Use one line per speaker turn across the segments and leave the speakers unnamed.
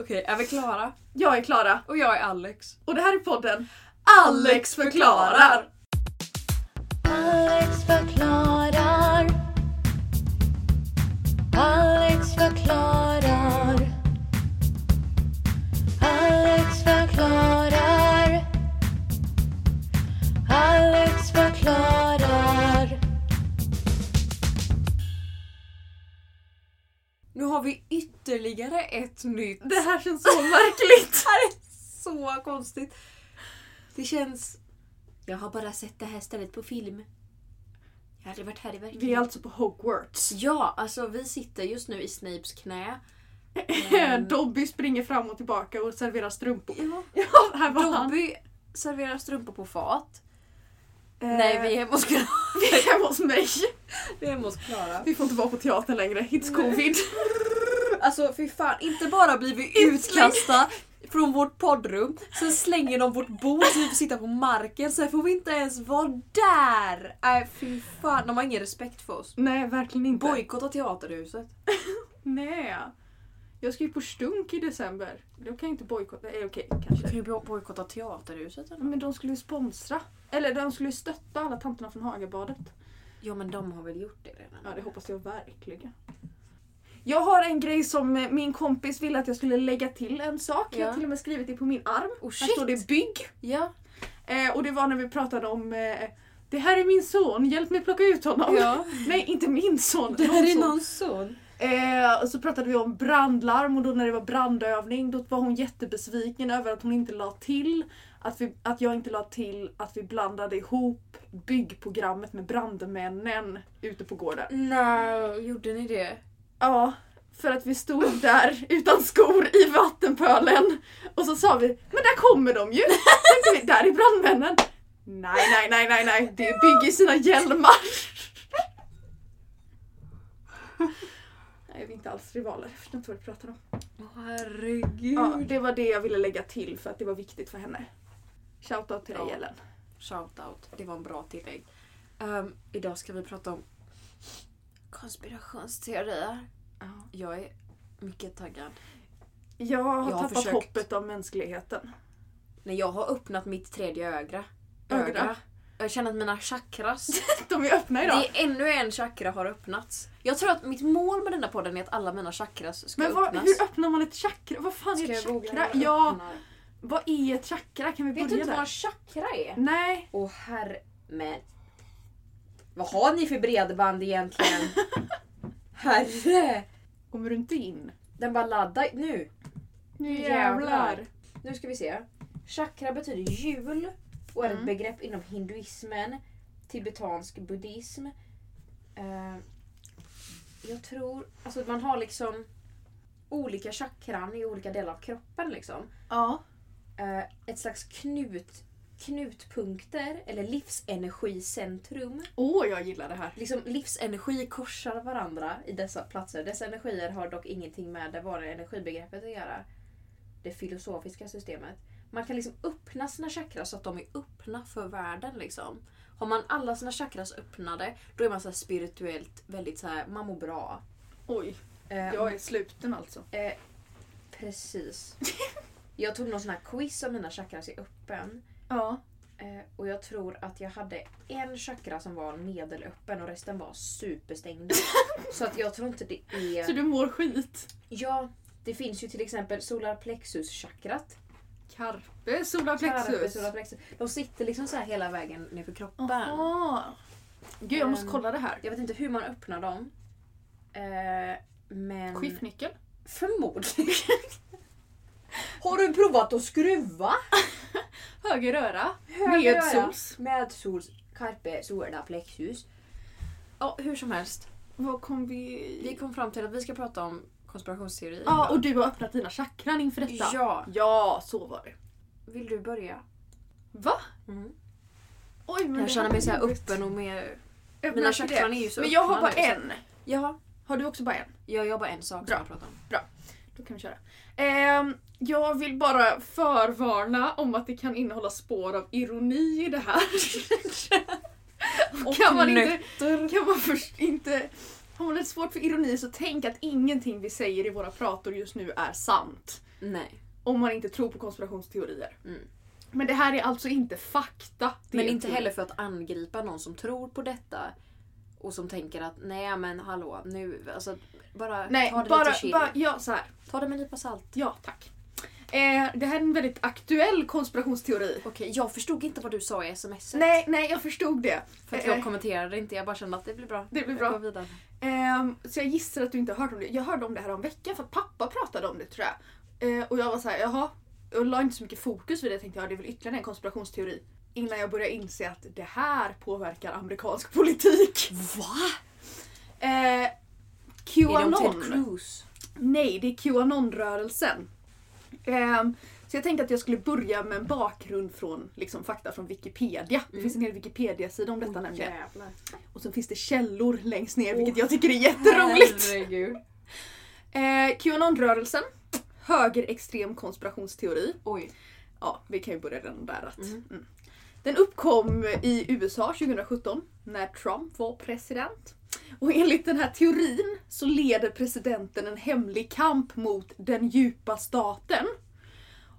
Okej, är vi klara?
Jag är Klara
Och jag är Alex.
och det här är podden
Alex förklarar.
Alex förklarar. Alex förklarar. Alex förklarar. Alex förklarar.
Nu har vi ytterligare ett nytt.
Det här känns så märkligt.
Det här är så konstigt. Det känns... Jag har bara sett det här stället på film. Jag hade varit här i
Vi är
verkligheten.
alltså på Hogwarts.
Ja, alltså vi sitter just nu i Snapes knä.
Dobby springer fram och tillbaka och serverar strumpor.
Mm. Ja.
Ja, här var han.
Dobby serverar strumpor på fat.
Eh,
Nej, vi är hemma hos Klara.
vi är hemma hos mig.
Vi är hemma hos Klara.
Vi får inte vara på teatern längre. It's
Nej.
covid.
Alltså fy fan, inte bara blir vi utkastade från vårt poddrum, sen slänger de vårt bord så vi får sitta på marken, sen får vi inte ens vara där! Nej fy fan, de har ingen respekt för oss.
Nej, verkligen inte.
Bojkotta teaterhuset.
Nej. Jag ska ju på stunk i december. Då kan jag inte bojkotta. Eller okej, kanske.
ju bojkotta teaterhuset eller?
Men de skulle ju sponsra. Eller de skulle ju stötta alla tanterna från Hagabadet.
Ja men de har väl gjort det redan?
Ja, det hoppas jag verkligen. Jag har en grej som eh, min kompis ville att jag skulle lägga till en sak. Jag har
Ja.
till och med skrivit det på min arm.
Oh
Här står
shit!
det bygg.
Ja.
Eh, och det var när vi pratade om eh, Det här är min son, hjälp mig plocka ut honom.
ja.
Nej, inte min son.
Det
någon
här är
son.
någon son.
Eh, och så pratade vi om brandlarm och då när det var brandövning då var hon jättebesviken över att hon inte la till att, vi, att jag inte la till att vi blandade ihop byggprogrammet med brandmännen ute på gården.
Nej, gjorde ni det?
Ja, för att vi stod där utan skor i vattenpölen och så sa vi men där kommer de ju! Tänkte vi, där är brandmännen! Nej, nej, nej, nej, nej, det bygger sina hjälmar! Nej, vi är inte alls rivaler. Jag förstår inte vad du pratar om.
Åh herregud.
Ja, det var det jag ville lägga till för att det var viktigt för henne. Shoutout till dig
Ja.
Ellen.
Shoutout. Det var en bra tillägg. Ehm, idag ska vi prata om konspirationsteorier. Jag är mycket taggad.
Jag har
Jag har
tappat
försökt.
hoppet om mänskligheten.
När jag har öppnat mitt tredje ögra.
Ögra?
Jag känner att mina chakras,
De är öppna
det
idag.
är ännu en chakra har öppnats. Jag tror att mitt mål med denna podden är att alla mina chakras ska
Men vad,
öppnas.
hur öppnar man ett chakra? Vad fan
Ska
är
jag
ett
googla
chakra?
hur jag
Ja,
öppnar?
vad är ett chakra? Kan vi
Vet du
börja
inte vad
där?
en chakra är?
Nej,
Åh herre... Men... Vad har ni för bredband egentligen? herre!
kommer du inte in?
Den bara laddar nu.
Nu
jävlar. Nu ska vi se. Chakra betyder hjul och är
Mm.
ett begrepp inom hinduismen, tibetansk buddhism. Eh, jag tror, alltså att man har liksom olika chakran i olika delar av kroppen liksom.
Ja.
Eh, ett slags knut, knutpunkter eller livsenergicentrum.
Åh, jag gillar det här.
Liksom livsenergi korsar varandra i dessa platser. Dessa energier har dock ingenting med det vanliga energibegreppet att göra. Det filosofiska systemet. Man kan liksom öppna sina chakras så att de är öppna för världen. Liksom. Har man alla sina chakras öppnade, då är man så här spirituellt väldigt så här, man mår bra.
Oj,
Eh,
jag är sluten alltså.
Eh, precis. Jag tog någon sån här quiz om mina chakras är öppen.
Ja.
Eh, och jag tror att jag hade en chakra som var medelöppen och resten var superstängd. så att jag tror inte det
Så
är...
du mår skit?
Ja, det finns ju till exempel solarplexus-chakrat.
Carpe solarplexus.
Solarplexus. De sitter liksom så här hela vägen ner för kroppen.
Aha. Gud, jag måste
Ehm,
kolla det här.
Jag vet inte hur man öppnar dem. Eh, men...
Skiftnyckel?
Förmodligen. Har du provat att skruva?
Höger öra?
Höger öra.
Medsols?
Med sols, carpe, sola, plexus. Ja, hur som helst.
Vad kom vi...
Vi kom fram till att vi ska prata om konspirationsteorier.
Ja, och du har öppnat dina chakran inför detta.
Ja.
ja så var det.
Vill du börja?
Va?
Mm.
Oj, men
Jag
det
känner
här
mig så här
är roligt.
öppen och mer...
Jag
Mina
märker det.
chakran är ju så
Men jag har bara
öppna nu, så-
en.
Jaha.
Har du också bara en?
Jag jobbar en sak
Bra.
som jag pratar om.
Då kan vi köra. Ehm, jag vill bara förvarna om att det kan innehålla spår av ironi i det här. Och kan man inte, kan man först inte Hon har lite svårt för ironi så tänk att ingenting vi säger i våra prator just nu är sant.
Nej.
Om man inte tror på konspirationsteorier.
Mm.
Men det här är alltså inte fakta. Det är
Men inte
teori.
heller för att angripa någon som tror på detta och som tänker att nej men hallå nu, alltså bara
Nej,
ta det
bara,
lite chill.
bara ja, så här.
Ta det med en nypa salt.
Ja, tack. Eh, det här är en väldigt aktuell konspirationsteori.
Okej, jag förstod inte vad du sa i smset.
Nej, nej, jag förstod det.
För att
eh,
jag kommenterade inte, jag bara kände att det blir bra.
Det
Jag
blir
går
bra.
vidare.
Ehm, så jag gissar att du inte har hört om det. Jag hörde om det här om veckan för att pappa pratade om det tror jag. Eh, och jag var så här, jaha. Och la inte så mycket fokus vid det. Jag tänkte, ja det är väl ytterligare en konspirationsteori. Innan jag började inse att det här påverkar amerikansk politik.
Va?
Eh,
Är det om
Qanon.
Ted Cruz?
Nej, det är Qanon-rörelsen. Ehm, så jag tänkte att jag skulle börja med en bakgrund från liksom, fakta från Wikipedia. Det
Mm.
finns en hel Wikipedia-sida om detta nämligen.
Jävlar.
Och sen finns det källor längst ner vilket jag tycker är jätteroligt.
Herregud.
Eh, Qanon-rörelsen. Högerextrem konspirationsteori.
Oj.
Ja, vi kan ju börja redan där. Att,
Mm.
mm. Den uppkom i USA 2017 när Trump var president. Och enligt den här teorin så leder presidenten en hemlig kamp mot den djupa staten.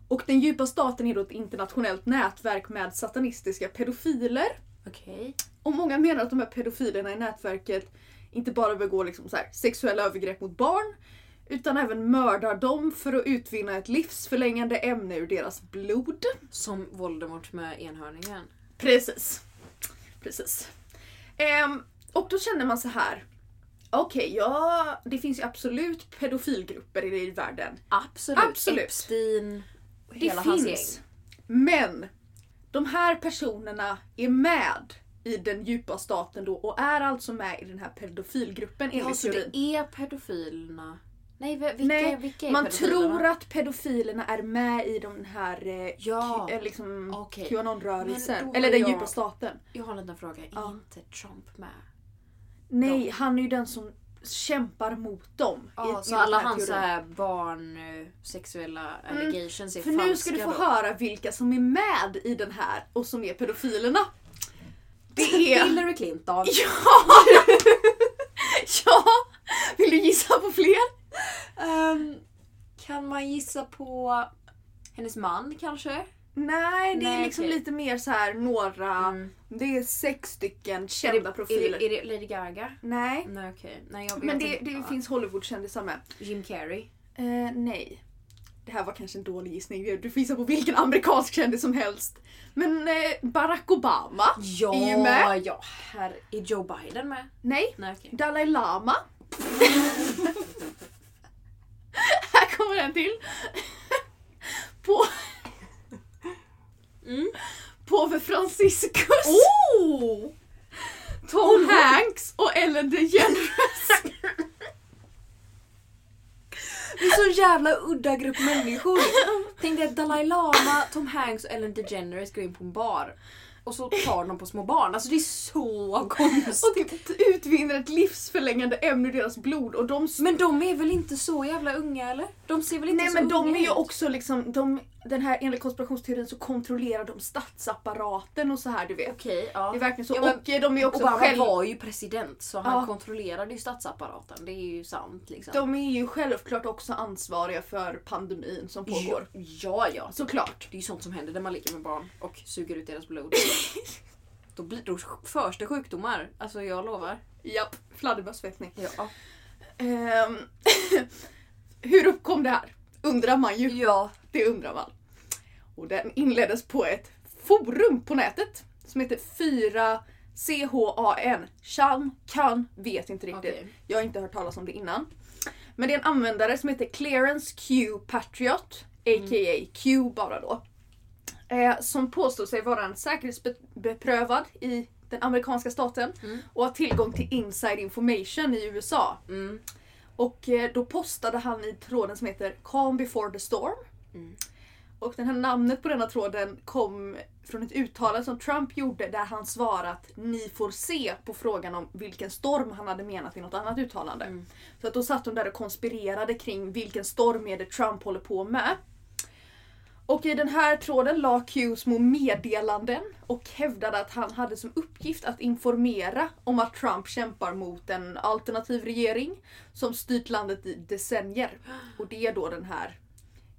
Och den djupa staten är då ett internationellt nätverk med satanistiska pedofiler.
Okej.
Och många menar att de här pedofilerna i nätverket inte bara begår liksom så här sexuella övergrepp mot barn utan även mördar dem för att utvinna ett livsförlängande ämne ur deras blod.
Som Voldemort med enhörningen.
Precis. Precis. Ehm, och då känner man så här. Okej, ja, det finns ju absolut pedofilgrupper i världen.
Absolut.
Absolut.
Epstein. och
Det
hela hans
finns.
gäng.
Men de här personerna är med i den djupa staten då och är alltså med i den här pedofilgruppen enligt
Ja, så
teorin.
det är pedofilerna. Nej, vi- vilka,
Nej,
vilka är
Man
pedofilerna?
tror att pedofilerna är med i den här eh,
Ja.
k- eh, liksom,
Okej. Men
Qanon-rörelsen.
då
Eller
är
den
jag-
djupa staten.
Jag har en liten fråga. Är
Ja.
inte Trump med?
Nej, han är ju den som kämpar mot dem. i-
Ja, så
enligt
alla
den här
hans så
teorin.
här Mm. barn eh, sexuella allegations är
För
falska
nu ska du få
då.
höra vilka som är med i den här och som är pedofilerna. Det är...
Hillary Clinton.
ja! ja! Vill du gissa på fler?
Ehm, kan man gissa på hennes man kanske?
Nej, det är
Nej,
liksom
okej.
lite mer så här några...
Mm.
Det är sex stycken
Är, det,
kända profiler.
är, det, är det Lady Gaga?
Nej.
Nej okej. Nej, jag,
Men
jag
det,
tänkte-
det
ja.
finns Hollywoodkändisar med.
Jim Carrey.
Eh, nej. Det här var kanske en dålig gissning. Du får gissa på vilken amerikansk kändis som helst. Men eh, Barack Obama.
Ja,
Är ju med.
ja. Här är Joe Biden med.
Nej.
Nej okej.
Dalai Lama. här kommer en till. på,
Mm.
påve Franciscus.
Oh!
Tom Hanks och Ellen DeGeneres.
Det är så jävla udda grupp människor. Tänk dig att Dalai Lama, Tom Hanks och Ellen DeGeneres går in på en bar. Och så tar de på små barn. Alltså det är så
och
konstigt.
typ utvinner ett livsförlängande ämne ur deras blod och de
Men de är väl inte så jävla unga eller? De ser väl inte
Nej
så
men de
unga
är ju
ut?
också liksom, de, den här, enligt konspirationsteorin så kontrollerar de statsapparaten och så här du vet.
Okej, ja.
Det är verkligen så.
Ja, men
och eh, de är också
Obama
själv,
var ju president så han
Ja.
kontrollerade ju statsapparaten. Det är ju sant liksom.
de är ju självklart också ansvariga för pandemin som pågår.
Ja, ja, ja.
Såklart.
Det är ju sånt som händer när man ligger med barn och suger ut deras blod. då, blir, då förs det sjukdomar. Alltså jag lovar.
Japp, fladdermöss vet ni.
Ja.
Ehm, hur uppkom det här? Undrar man ju.
ja.
Det undrar man. Och den inleddes på ett forum på nätet som heter 4CHAN. Chan, kan, vet inte riktigt.
Okej.
Jag har inte hört talas om det innan. Men det är en användare som heter Clarence Q Patriot,
Mm.
a.k.a. Q bara då. Eh, som påstår sig vara en säkerhetsbeprövad i den amerikanska staten
Mm.
och har tillgång till inside information i USA.
Mm.
Och eh, då postade han i tråden som heter Calm before the storm.
Mm.
Och den här namnet på denna tråden kom från ett uttalande som Trump gjorde där han svarat ni får se på frågan om vilken storm han hade menat i något annat uttalande.
Mm.
Så att då satt de där och konspirerade kring vilken storm är det Trump håller på med. Och i den här tråden la Q små meddelanden och hävdade att han hade som uppgift att informera om att Trump kämpar mot en alternativ regering som styrt landet i decennier. Och det är då den här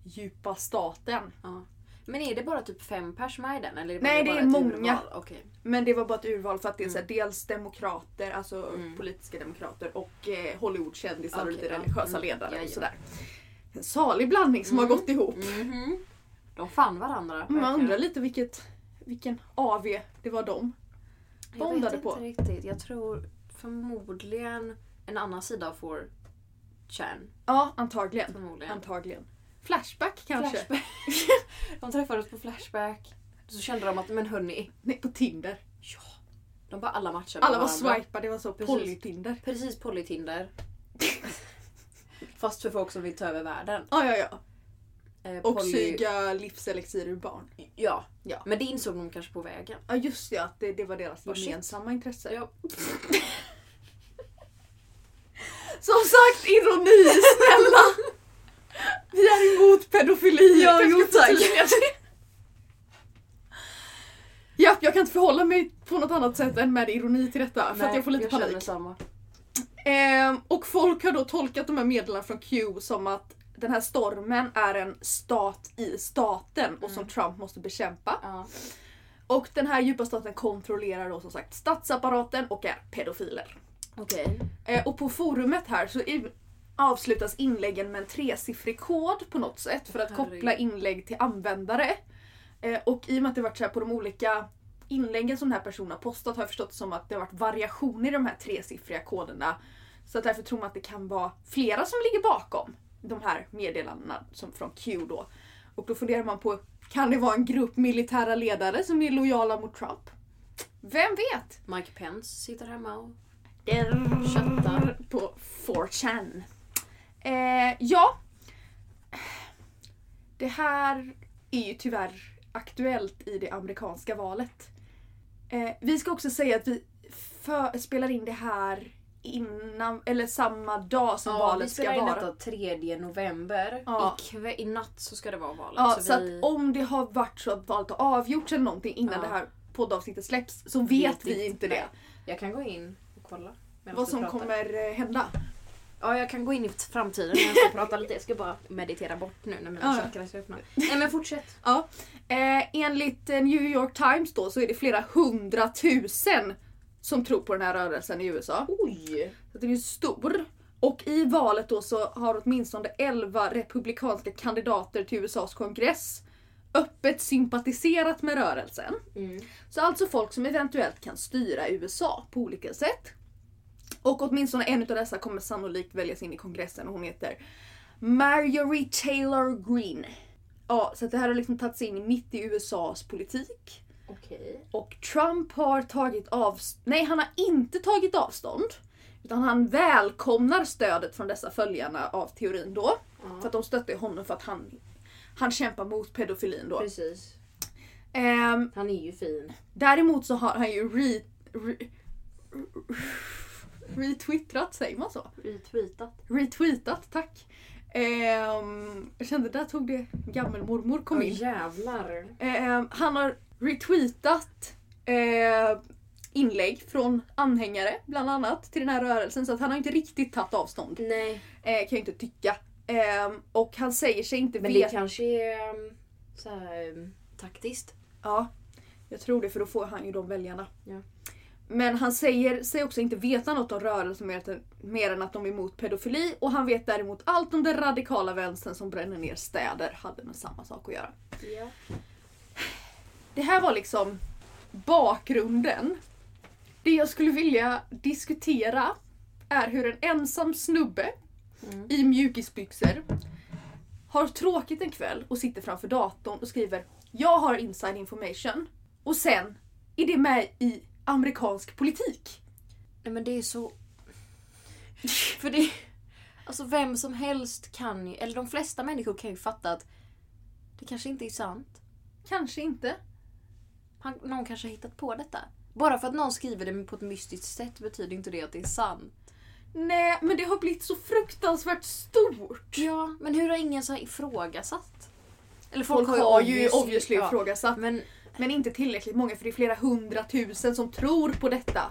djupa staten.
Ja. Men är det bara typ fem pers med i den? Eller är
Nej,
bara
det är
ett
många.
urval? Okej.
Men det var bara ett urval för att det är så här, dels demokrater, alltså
Mm.
politiska demokrater och eh, Hollywoodkändisar och
Okej,
lite
ja.
religiösa
Mm.
ledare och
Jajamän.
sådär. En salig blandning som har gått ihop.
Mhm. De fann varandra.
Man
verkligen.
undrar lite vilket, vilken AV det var de.
Jag vet
bondade
inte
på.
riktigt. Jag tror förmodligen en annan sida av får Chan.
Ja, antagligen.
Förmodligen.
Antagligen. Flashback kanske?
Flashback. De träffades på Flashback. Så kände de att, men hörni.
Nej, på Tinder.
Ja. De bara alla matchar med
Alla var
varandra.
swipade, det var så
Precis.
polytinder.
Precis Polytinder. Fast för folk som vill ta över världen.
Ja, ja, ja.
Eh,
Och
poly-
suga livselixir ur barn.
Ja.
Ja.
Men det insåg de kanske på vägen.
Ja just det, att det, det var deras
Vad shit.
gemensamma intresse.
Ja.
Som sagt, ironi snälla! Vi är emot pedofili.
Ja,
Jag
jo,
ska
tack.
förtydliga det. Japp, jag kan inte förhålla mig på något annat sätt än med ironi till detta för att jag får lite panik.
känner samma.
Ehm, och folk har då tolkat de här meddelandena från Q som att den här stormen är en stat i staten och som Trump måste bekämpa.
Ja.
Och den här djupa staten kontrollerar då som sagt statsapparaten och är pedofiler.
Okej.
Eh, och på forumet här så i- avslutas inläggen med en tresiffrig kod på något sätt för att
Herregud.
koppla inlägg till användare. Eh, och i och med att det varit så här på de olika inläggen som den här personen har postat har jag förstått som att det har varit variationer i de här tresiffriga koderna. Så att därför tror man att det kan vara flera som ligger bakom de här meddelandena som från Q då. Och då funderar man på, kan det vara en grupp militära ledare som är lojala mot Trump? Vem vet?
Mike Pence sitter hemma och...
Köttar Ehm, på 4chan. Eh, ja. Det här är ju tyvärr aktuellt i det amerikanska valet. Eh, vi ska också säga att vi för, spelar in det här innan, eller samma dag som valet ska vara.
detta 3 november.
Ja.
I, kväll, I natt så ska det vara valet.
Ja, så
vi
att om det har varit så att valet har avgjorts eller någonting innan
Ja.
det här poddavsnittet släpps så vet,
Vet
vi
inte.
inte det.
Nej. Jag kan gå in och kolla. medan
Vad
du
som
pratar.
kommer eh, hända.
Ja, jag kan gå in i framtiden när jag ska prata lite. Jag ska bara meditera bort nu när mina
Ja, ja.
chakras är öppna. Nej men fortsätt.
Ja. Eh, enligt eh, New York Times då så är det flera hundratusen som tror på den här rörelsen i USA.
Oj!
Så den är ju stor. Och i valet då så har åtminstone 11 republikanska kandidater till USAs kongress öppet sympatiserat med rörelsen.
Mm.
Så alltså folk som eventuellt kan styra USA på olika sätt. Och åtminstone en av dessa kommer sannolikt väljas in i kongressen och hon heter Marjorie Taylor Greene. Ja, så att det här har liksom tagit sig in mitt i USAs politik.
Okej.
Och Trump har tagit avstånd, nej han har inte tagit avstånd. Utan han välkomnar stödet från dessa följarna av teorin då. För att de stöttar ju honom för att han, han kämpar mot pedofilin då.
Precis.
Ehm,
Han är ju fin.
Däremot så har han ju re, re, retwittrat, säger man så?
Retweetat.
Retweetat, tack. Ehm, jag kände där tog det gammelmormor kom in.
jävlar.
Ehm, han har retweetat eh, inlägg från anhängare bland annat till den här rörelsen så att han har inte riktigt tagit avstånd.
Nej.
Eh, kan jag inte tycka. Ehm, och han säger sig inte
Men det
veta...
kanske är ehm, så här, ehm, taktiskt.
Ja, jag tror det för då får han ju de väljarna.
Ja.
Men han säger sig också inte veta något om rörelsen mer, att- mer än att de är emot pedofili och han vet däremot allt om den radikala vänstern som bränner ner städer hade med samma sak att göra.
Ja.
Det här var liksom bakgrunden. Det jag skulle vilja diskutera är hur en ensam snubbe
Mm.
i mjukisbyxor har tråkigt en kväll och sitter framför datorn och skriver “Jag har inside information” och sen är det med i amerikansk politik.
Nej men det är så... För det... Alltså vem som helst kan ju, eller de flesta människor kan ju fatta att det kanske inte är sant.
Kanske inte.
Han, någon kanske har hittat på detta. Bara för att någon skriver det på ett mystiskt sätt betyder inte det att det är sant.
Nej, men det har blivit så fruktansvärt stort.
Ja, men hur har ingen så här ifrågasatt?
Eller folk,
Folk
har ju obviously,
ja.
ifrågasatt.
Men
Men inte tillräckligt många för det är flera hundratusen som tror på detta.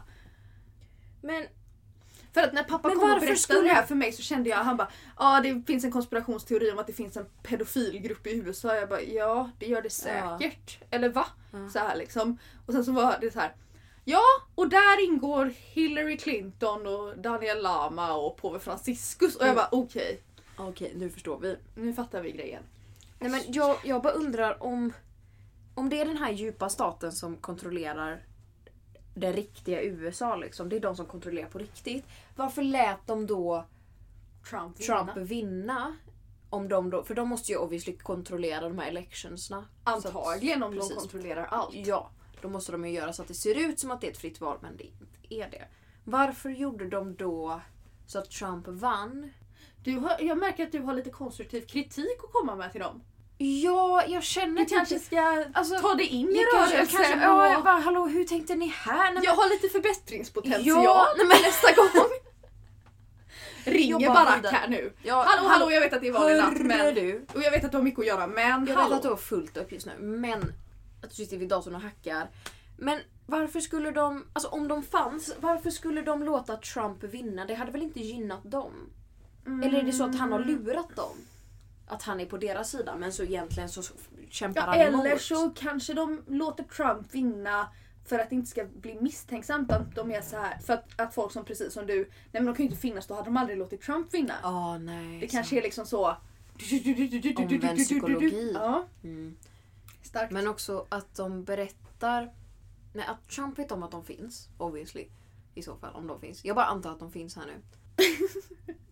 Men
För att när pappa
Men
kom och
varför
berättade
skulle-
det här för mig så kände jag, han bara ja det finns en konspirationsteori om att det finns en pedofilgrupp i USA. Jag bara ja det gör det säkert. Eller va?
Ja.
Så här liksom. Och sen så var det så här. Ja och där ingår Hillary Clinton och Daniel Lama och påve Franciscus. Och jag
Mm.
bara okej
okej, nu förstår vi.
nu fattar vi grejen.
Nej men jag, jag bara undrar om, om det är den här djupa staten som kontrollerar det riktiga USA liksom. Det är de som kontrollerar på riktigt. Varför lät de då
Trump,
Trump
vinna.
vinna? Om de då, för de måste ju obviously kontrollera de här electionsna.
Antagligen om
Precis.
de kontrollerar allt.
Ja, då måste de ju göra så att det ser ut som att det är ett fritt val men det inte är det. Varför gjorde de då så att Trump vann?
Du har, jag märker att du har lite konstruktiv kritik att komma med till dem.
Ja, jag känner typ
Du kanske ska
Alltså,
ta det in i
jag kanske, jag kanske,
rörelsen.
ja,
och-
jag bara, hallå hur tänkte ni här? Nej,
Jag har lite förbättringspotential
Ja, nej, men-
nästa gång. Ringer
Jobba
Barak
vidare.
här nu.
men, ja,
Hallå hallå jag vet att det är vanlig natt men...
du.
Och jag vet att du har mycket att göra men...
Jag vet
hallå.
att du har fullt upp just nu men att du sitter vid datorn och hackar. Men varför skulle de, alltså om de fanns, varför skulle de låta Trump vinna? Det hade väl inte gynnat dem?
Mm.
Eller är det så att han har lurat dem? Att han är på deras sida men så egentligen så kämpar
Ja,
han
eller
emot.
så kanske de låter Trump vinna för att det inte ska bli misstänksamt att de är så här. För att, att folk som precis som du, nej men de kan ju inte finnas då hade de aldrig låtit Trump vinna.
Ja, nej.
det kanske är liksom så... Omvänd
psykologi.
Ja,
Mm.
starkt.
Men också att de berättar... Nej, att Trump vet om att de finns, obviously. I så fall, om de finns. Jag bara antar att de finns här nu.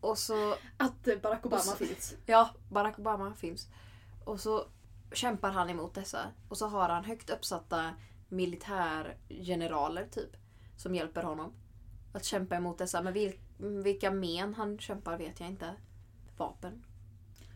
och så...
Att eh, Barack Obama
Och så-
finns.
Ja, Barack Obama finns. Och så kämpar han emot dessa. Och så har han högt uppsatta militärgeneraler, typ. Som hjälper honom. Att kämpa emot dessa. Men vil, vilka men han kämpar vet jag inte. Vapen.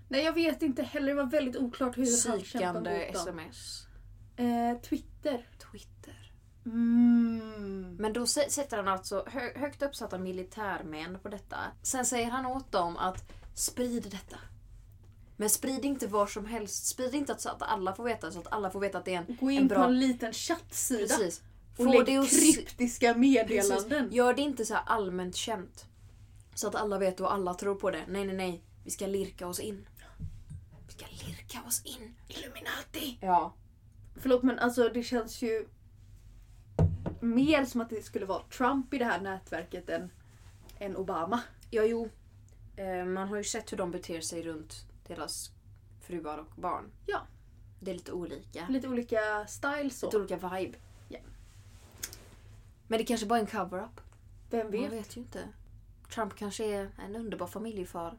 Nej jag vet inte heller, det var väldigt oklart hur han kämpade
Psykande
mot dem.
sms.
Eh, Twitter.
Twitter.
Mm.
Men då sä- sätter han alltså hö- högt uppsatta militärmän på detta. Sen säger han åt dem att sprid detta. Men sprid inte var som helst. Sprid inte att- så att alla får veta, så att alla får veta att det är en...
Gå in
bra-
på en liten chattsida
Precis.
och
Få
lägg
det att s-
kryptiska
precis.
meddelanden.
Gör det inte så här allmänt känt. Så att alla vet och alla tror på det. Nej, nej, nej. Vi ska lirka oss in. Vi ska lirka oss in.
Illuminati!
Ja.
Förlåt men alltså det känns ju mer som att det skulle vara Trump i det här nätverket än, än Obama.
Ja, jo. Eh, Man har ju sett hur de beter sig runt deras fruar och barn.
Ja.
Det är lite olika.
Lite olika styles
Lite
så.
olika vibe.
Ja.
Men det kanske bara är en cover-up.
Vem
Man
vet?
vet ju inte. Trump kanske är en underbar familjefar.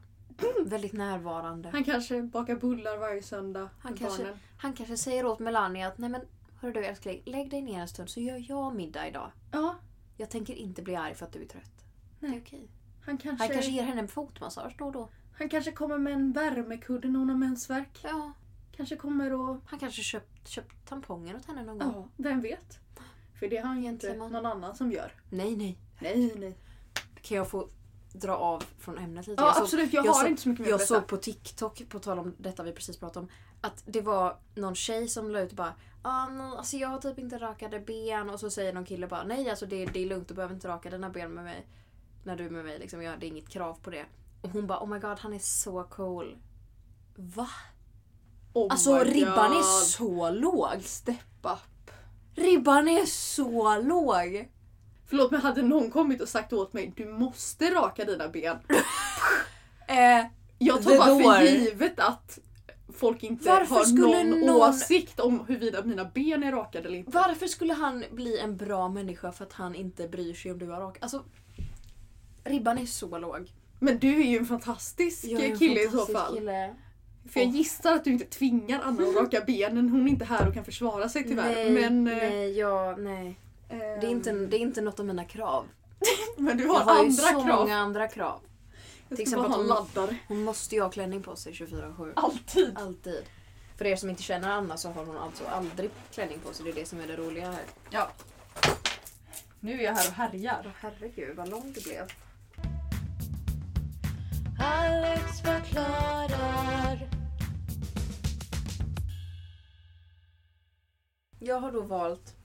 Väldigt närvarande.
Han kanske bakar bullar varje söndag
Han
med
kanske-
barnen.
Han kanske säger åt Melania att nej men hörru du älskling, lägg dig ner en stund så gör jag middag idag.
Ja,
Jag tänker inte bli arg för att du är trött. Det
Nej.
är okej.
han kanske,
Han kanske ger henne en fotmassage då och då.
han kanske kommer med en värmekudde när hon har mensvärk.
Ja,
Kanske kommer och...
han kanske köpt, köpt tamponger åt henne någon gång.
Ja, vem vet? För det har han ju inte
Gentleman.
någon annan som gör.
Nej nej.
Nej, nej.
Kan jag få dra av från ämnet lite?
Ja,
Jag såg-
absolut. Jag,
jag
har
såg-
inte så mycket mer
Jag
att berätta.
såg på TikTok, på tal om detta vi precis pratade om, att det var någon tjej som la ut bara ah, nå- alltså jag har typ inte rakade ben och så säger någon kille bara nej alltså det, det är lugnt du behöver inte raka dina ben med mig. När du är med mig liksom, jag, det är inget krav på det. Och hon bara oh my god han är så cool. Va?
Oh
Alltså
my
ribban
God.
är så låg.
Step up.
Ribban är så låg.
Förlåt men hade någon kommit och sagt åt mig du måste raka dina ben.
Eh,
Jag tar
The
bara
door.
för givet att folk inte
Varför
har
skulle
någon,
någon-
åsikt om huruvida mina ben är rakade eller inte.
varför skulle han bli en bra människa för att han inte bryr sig om du har rakat? Alltså ribban är så låg.
Men du är ju en fantastisk
Jag är en
kille i så
fantastisk
fall.
kille.
För jag gissar att du inte tvingar Anna att raka benen. Hon är inte här och kan försvara sig tyvärr.
Nej,
men, eh,
nej, ja, nej.
ehm,
Det är, inte, det är inte något av mina krav.
men du
Jag
har,
har ju
andra
så
krav.
många andra krav.
Jag
till
ska bara
exempel
ha en
att
laddare.
Hon måste ju ha klänning på sig 24-7.
Alltid.
Alltid. För er som inte känner Anna så har hon alltså aldrig klänning på sig. Det är det som är det roliga här.
Ja. Nu är jag här och härjar.
Åh, Alltså, herregud vad lång det blev.
Alex förklarar.
Jag har då valt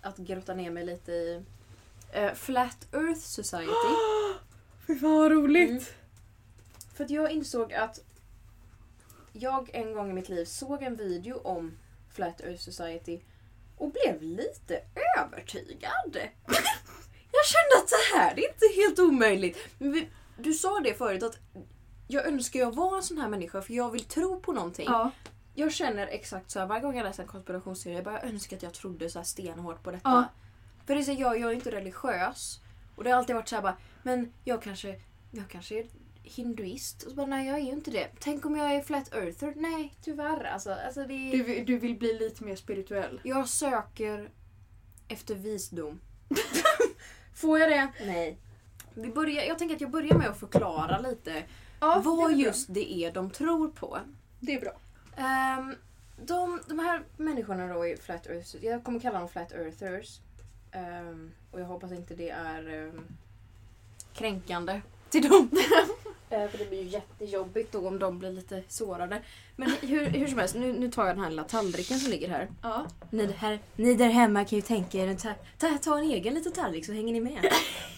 att grotta ner mig lite i eh, Flat Earth Society.
Fy fan vad roligt!
Mm. För att jag insåg att jag en gång i mitt liv såg en video om Flat Earth Society och blev lite övertygad. jag kände att så här, det är inte helt omöjligt. Men vi, du sa det förut att jag önskar jag var en sån här människa för jag vill tro på någonting.
Ja.
Jag känner exakt så här varje gång jag läser en konspirationsteori. Jag bara jag önskar att jag trodde så här stenhårt på detta.
Ja.
För det är så, här, jag, jag är inte religiös. Och det har alltid varit så här bara, men jag kanske, jag kanske är hinduist. Och så bara, nej jag är ju inte det. Tänk om jag är flat earther? Nej, tyvärr. Alltså, alltså det är,
Du, vill- du vill bli lite mer spirituell.
Jag söker efter visdom. Får jag det? Nej. Vi börjar, jag tänker att jag börjar med att förklara lite vad just det är de tror på.
Det är bra.
Ehm, de, de här människorna då i Flat Earth, jag kommer kalla dem Flat Earthers. Ehm, och jag hoppas inte det är ehm, kränkande till dem. Eh, för det blir ju jättejobbigt då om de blir lite sårade. Men hur, hur som helst, nu, nu tar jag den här lilla tallriken som ligger här.
Ja.
Ni, där- här, ni där hemma kan ju tänka er, ta, ta, ta en egen liten tallrik så hänger ni med.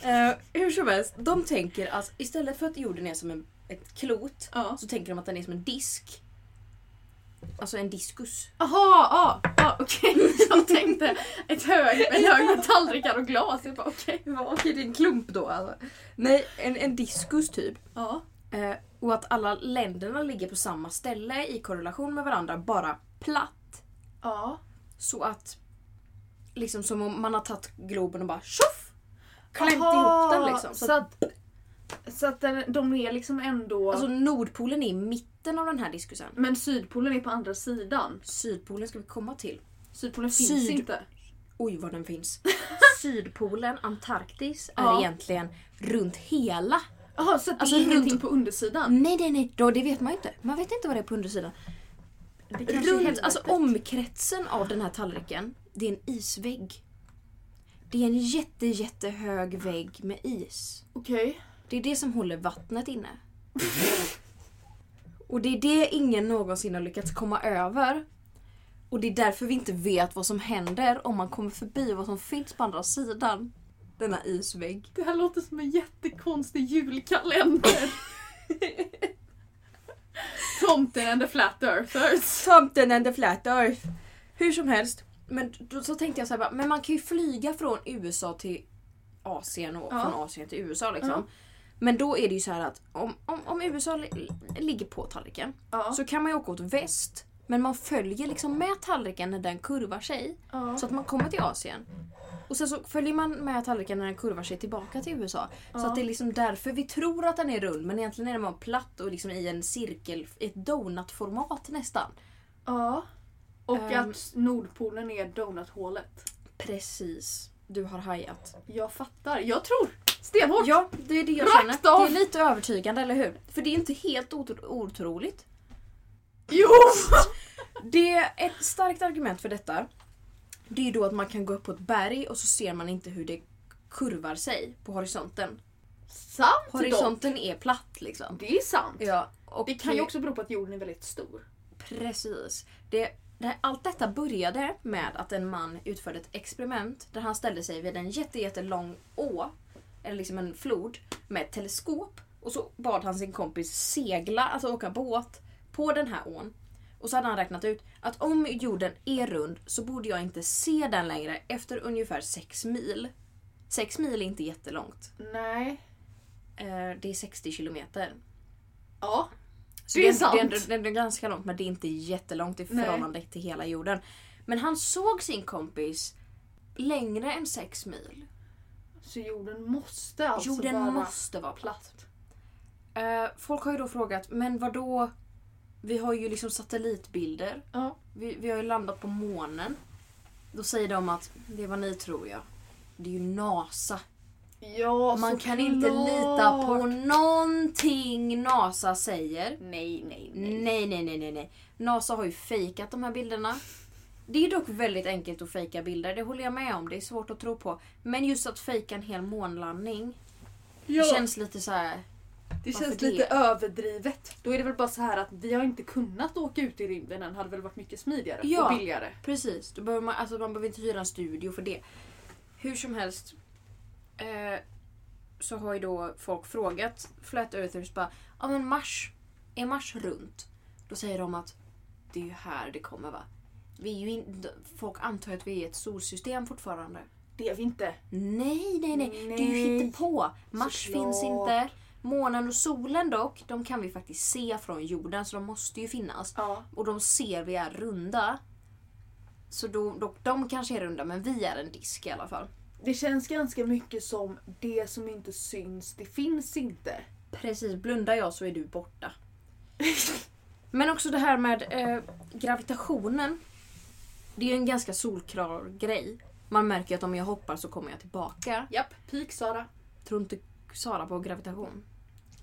Eh, hur som helst, de tänker att istället för att jorden är som en, ett klot
Ja.
så tänker de att den är som en disk. Alltså en diskus.
Jaha, ja,
ah,
ja okej. Jag tänkte ett hög, en hög med tallrikar och glas. Jag bara okej.
Okej, det är en klump då alltså. Nej, en, en diskus typ.
Ja.
Eh, och att alla länderna ligger på samma ställe i korrelation med varandra, bara platt.
Ja.
Så att liksom som om man har tagit Globen och bara tjoff! Klämt
Aha,
ihop den liksom. Så
Så
att,
att, så att den, de är liksom ändå...
alltså Nordpolen är i mitten av den här diskusen.
men Sydpolen är på andra sidan.
Sydpolen ska vi komma till.
Sydpolen finns
Syd-
inte.
Oj vad den finns. Sydpolen, Antarktis, är
Ja.
egentligen runt hela
Jaha, så att
Alltså
det är
runt-
ingenting på undersidan?
Nej, nej, nej. Då, det vet man ju inte. Man vet inte vad det är på undersidan.
Det kanske är
Runt,
helvetet.
alltså omkretsen av den här tallriken, det är en isvägg. Det är en jätte, jättehög vägg med is.
Okej.
Det är det som håller vattnet inne. Och det är det ingen någonsin har lyckats komma över. Och det är därför vi inte vet vad som händer om man kommer förbi vad som finns på andra sidan denna isvägg.
Det här låter som en jättekonstig julkalender. Tomten and the flat earthers.
Something and the flat earth. Hur som helst. Men då så tänkte jag så här, bara, men man kan ju flyga från USA till Asien och
Ja.
från Asien till USA liksom.
Ja.
Men då är det ju så här att om, om, om USA li, ligger på tallriken
Ja.
så kan man ju åka åt väst men man följer liksom med tallriken när den kurvar sig
ja.
så att man kommer till Asien. Och sen så följer man med tallriken när den kurvar sig tillbaka till USA. Så
Ja.
att det är liksom därför vi tror att den är rund men egentligen är den bara platt och liksom i en cirkel, i ett donutformat nästan.
ja. Och
Ehm.
att Nordpolen är donuthålet.
Precis. Du har hajat.
Jag fattar. Jag tror stenhårt.
Ja, det är det jag
Rakt
känner.
av!
Det är lite övertygande, eller hur? För det är inte helt otro- otroligt.
Jo!
Det är ett starkt argument för detta. Det är ju då att man kan gå upp på ett berg och så ser man inte hur det kurvar sig på horisonten.
Sant dock.
Horisonten är platt liksom.
Det är sant.
Ja, och
Det kan ju också bero på att jorden är väldigt stor.
Precis. Det, det, här- allt detta började med att en man utförde ett experiment där han ställde sig vid en jätte, jättelång å, eller liksom en flod, med ett teleskop. Och så bad han sin kompis segla, alltså åka båt, på den här ån. Och så hade han räknat ut att om jorden är rund så borde jag inte se den längre efter ungefär 6 mil. 6 mil är inte jättelångt.
Nej.
Eh, Det är 60 kilometer.
Ja.
Så
Det är
det,
sant.
det, är ändå- det, är ändå ganska långt men det är inte jättelångt i
Nej.
förhållande till hela jorden. Men han såg sin kompis längre än 6 mil.
Så jorden måste alltså
jorden
vara
måste vara platt.
platt.
Eh, folk har ju då frågat, men vad då? Vi har ju liksom satellitbilder.
Ja.
Vi, vi har ju landat på månen. Då säger de att det är vad ni tror ja. Det är ju NASA.
Ja,
Man
såklart.
kan inte lita på någonting NASA säger.
Nej, nej, nej.
Nej, nej, nej, nej, nej. NASA har ju fejkat de här bilderna. Det är dock väldigt enkelt att fejka bilder, det håller jag med om. Det är svårt att tro på. Men just att fejka en hel månlandning,
Ja.
det känns lite så här.
Det
Varför
känns
det?
lite överdrivet. Då är det väl bara så här att vi har inte kunnat åka ut i rymden än. hade väl varit mycket smidigare
Ja.
och billigare.
Precis, då behöver man, alltså man behöver inte hyra en studio för det. Hur som helst eh, så har ju då folk frågat Flat Earthers bara ja men Mars, är Mars runt? Då säger de att det är ju här det kommer va? Vi är ju in, d- folk antar ju att vi är ett solsystem fortfarande.
Det är vi inte.
Nej, nej, nej. Det är ju
Nej.
hittepå. Mars
Såklart.
finns inte. Månen och solen dock, de kan vi faktiskt se från jorden så de måste ju finnas
Ja.
och de ser vi är runda. Så då, då, de kanske är runda men vi är en disk i alla fall.
Det känns ganska mycket som det som inte syns, det finns inte.
Precis, blundar jag så är du borta. men också det här med eh, gravitationen. Det är ju en ganska solklar grej. Man märker ju att om jag hoppar så kommer jag tillbaka.
Japp, peak Sara.
Tror inte Sara på gravitation?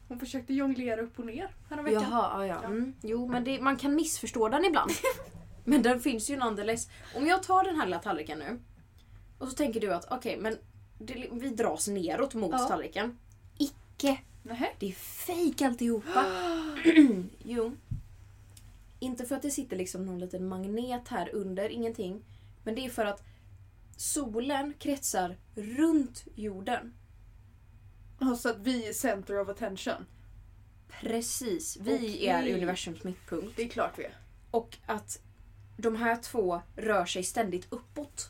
Hon försökte jonglera upp och ner häromveckan.
Jaha, ja, ja.
Ja.
Mm. Jo, men det, man kan missförstå den ibland. men den finns ju nonetheless. Om jag tar den här lilla tallriken nu och så tänker du att okej, men det, vi dras neråt mot
Ja.
tallriken. Icke!
Nähä.
Det är fejk alltihopa. jo. Inte för att det sitter liksom någon liten magnet här under, ingenting. Men det är för att solen kretsar runt jorden.
Ja, Så att vi är center of attention.
Precis, vi
Okej.
är universums mittpunkt.
Det är klart vi är.
Och att de här två rör sig ständigt uppåt.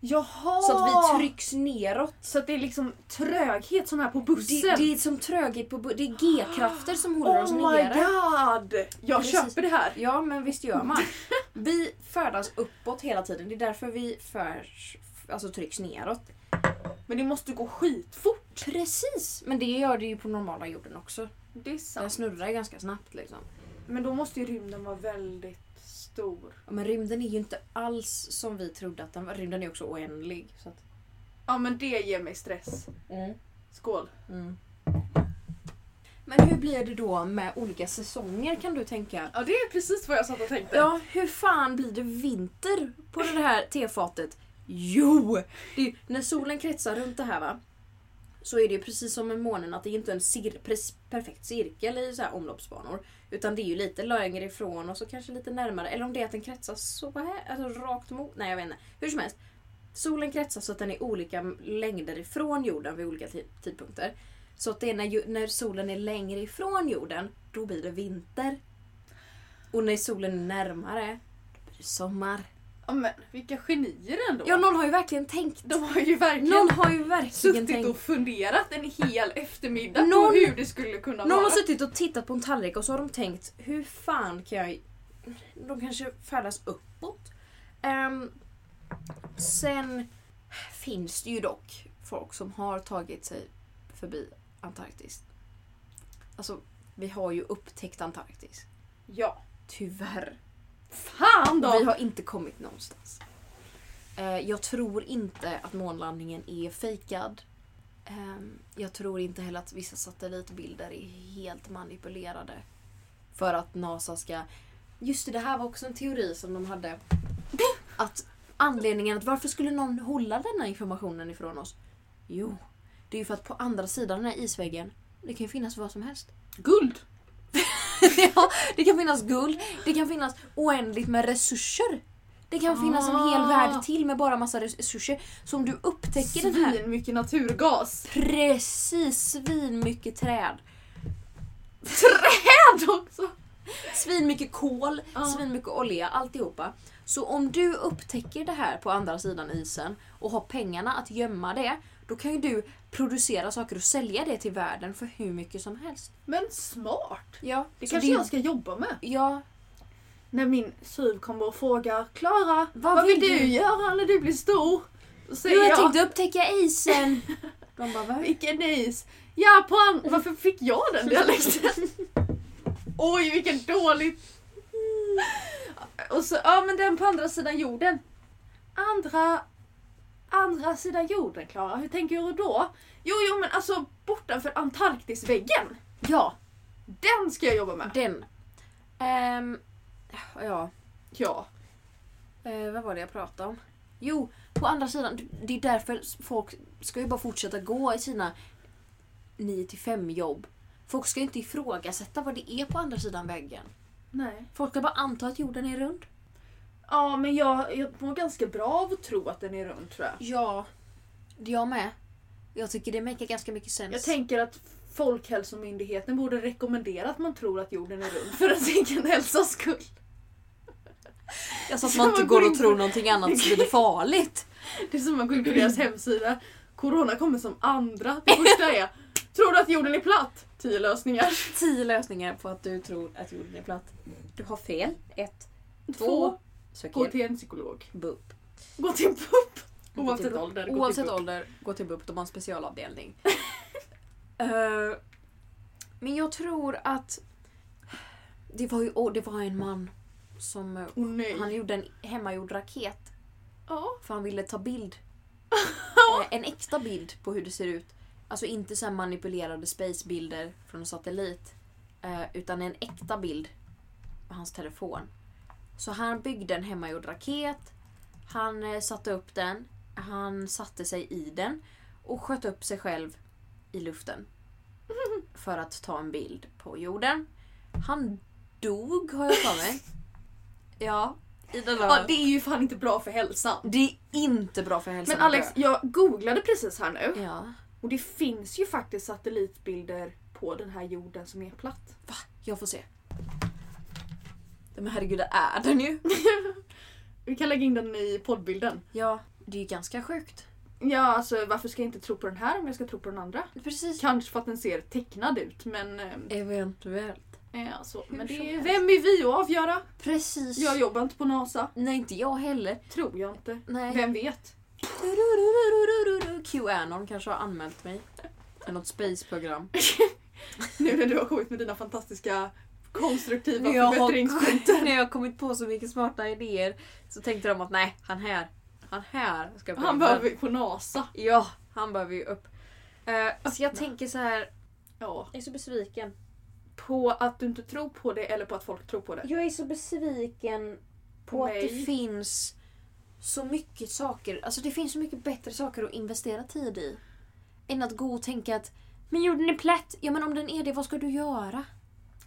Jaha!
Så att vi trycks neråt.
Så att det är liksom tröghet som är på
Det,
bussen.
det är som tröghet på bu- Det är g-krafter som håller oss
oh my
nere.
god! Jag
Precis.
köper det här.
Ja men visst gör man. Vi färdas uppåt hela tiden. Det är därför vi förs, alltså trycks neråt.
Men det måste gå skitfort.
Precis! Men det gör det ju på normala jorden också.
Det är
Den
sant.
snurrar ju ganska snabbt liksom.
Men då måste ju rymden vara väldigt stor.
Ja, Men rymden är ju inte alls som vi trodde att den var. Rymden är också oändlig. Så att,
Ja men det ger mig stress. Skål.
Mm. Men hur blir det då med olika säsonger kan du tänka?
Ja det är precis vad jag satt och tänkte.
Ja, hur fan blir det vinter på det här tefatet? Jo! Det, när solen kretsar runt det här va, så är det ju precis som med månen att det är inte en cir- pres- perfekt cirkel i så här omloppsbanor. Utan det är ju lite längre ifrån och så kanske lite närmare. Eller om det är att den kretsar så här, alltså rakt mot... Nej jag vet inte. Hur som helst. Solen kretsar så att den är olika längder ifrån jorden vid olika ti- tidpunkter. Så att det är när, ju- när solen är längre ifrån jorden, då blir det vinter. Och när solen är närmare, då blir det sommar.
Ja, men vilka genier ändå.
Ja, någon har ju verkligen tänkt.
De har ju verkligen
Någon har ju verkligen
suttit och
tänkt.
funderat en hel eftermiddag
Någon-
på hur det skulle kunna
Någon
vara.
har suttit och tittat på en tallrik och så har de tänkt, hur fan kan jag... De kanske färdas uppåt. Ehm, sen finns det ju dock folk som har tagit sig förbi Antarktis. Alltså, vi har ju upptäckt Antarktis.
Ja.
Tyvärr.
Fan då!
Vi har inte kommit någonstans. Eh, Jag tror inte att månlandningen är fejkad. Ehm, Jag tror inte heller att vissa satellitbilder är helt manipulerade. För att NASA ska... Just det, det här var också en teori som de hade. Att anledningen att varför skulle någon hålla denna informationen ifrån oss? Jo, det är ju för att på andra sidan den här isväggen, det kan ju finnas vad som helst.
Guld!
Ja, det kan finnas guld, det kan finnas oändligt med resurser. Det kan finnas en hel
Ah.
värld till med bara massa res- resurser. Så om du upptäcker den här...
Svin mycket naturgas.
Precis, svin mycket träd.
Träd också!
Svin mycket kol,
Ja.
svin mycket olja, alltihopa. Så om du upptäcker det här på andra sidan isen och har pengarna att gömma det, då kan ju du producera saker och sälja det till världen för hur mycket som helst.
Men smart!
Ja,
Det
så
kanske
det-
jag ska jobba med.
Ja,
När min syv kommer och frågar Klara, vad,
vill
vill du,
du?"
göra när du blir stor? Då säger
jo, jag
jag,
tänkte upptäcka isen. De bara, "Va?"
vilken is! Japan! Varför fick jag den dialekten? Oj, vilken dålig... Och så, ja men den på andra sidan jorden. Andra... Andra sidan jorden Klara, hur tänker du då? Jo, jo men alltså bortanför Antarktisväggen.
Ja,
Den ska jag jobba med.
Den. Ehm, ja,
Ja.
eh, vad var det jag pratade om? Jo, på andra sidan, det är därför folk ska ju bara fortsätta gå i sina 9 till 5 jobb. Folk ska ju inte ifrågasätta vad det är på andra sidan väggen.
Nej.
Folk ska bara anta att jorden är rund.
Ja men jag, jag mår ganska bra av att tro att den är rund tror jag.
Ja, jag med. Jag tycker det maker ganska mycket sens.
Jag tänker att Folkhälsomyndigheten borde rekommendera att man tror att jorden är rund för ens egen hälsas skull.
alltså att
Så
man inte
man
går
går
och
in-
tror någonting annat så blir det farligt.
Det är som man går in på deras hemsida. Corona kommer som andra. Det första är Tror du att jorden är platt? 10 lösningar.
Tio lösningar på att du tror att jorden är platt. Du har fel. Ett,
Två.
två, sök
Gå
hjälp.
till en psykolog.
BUP.
Gå till en pupp.
Gå till
Oavsett
BUP.
ålder. gå till
Oavsett
BUP.
ålder, gå till BUP. De har en specialavdelning. Eh, men jag tror att... Det var ju åh, det var en man som... eh,
Åh nej.
Han gjorde en hemmagjord raket
Ja.
för han ville ta bild. Eh, en äkta bild på hur det ser ut. Alltså inte så här manipulerade spacebilder från en satellit. eh, Utan en äkta bild med hans telefon. Så han byggde en hemmagjord raket. Han eh, satte upp den. Han satte sig i den. Och sköt upp sig själv i luften. För att ta en bild på jorden. Han dog har jag för mig. Ja. I den där-
ja. Det är ju fan inte bra för hälsan.
det är inte bra för hälsan.
Men Alex,
tror
jag googlade precis här nu
jag. Ja.
och det finns ju faktiskt satellitbilder på den här jorden som är platt.
Va? Jag får se. Men herregud, det är den ju.
Vi kan lägga in den i poddbilden.
Ja. Det är ju ganska sjukt.
Ja, alltså varför ska jag inte tro på den här om jag ska tro på den andra?
Precis.
Kanske för att den ser tecknad ut men... eh,
Eventuellt.
Eh, alltså,
Hur
men det,
som
är-
helst.
vem är vi att avgöra?
Precis.
Jag jobbar inte på NASA.
Nej, inte jag heller.
Tror jag inte.
Nej.
Vem vet?
Qanon kanske har anmält mig. Till något spaceprogram.
Nu när du har kommit med dina fantastiska konstruktiva
jag
förbättringspunkter.
har, när jag har kommit på så mycket smarta idéer så tänkte de att nej, han här. Han här ska
Han behöver på NASA.
Ja, han behöver ju upp. Eh, så jag tänker så här.
Ja.
Jag är så besviken.
På att du inte tror på det eller på att folk tror på det.
Jag är så besviken på
På
att det
mig.
finns så mycket saker. Alltså det finns så mycket bättre saker att investera tid i. Än att gå och tänka att men jorden är plätt. Ja men om den är det, vad ska du göra?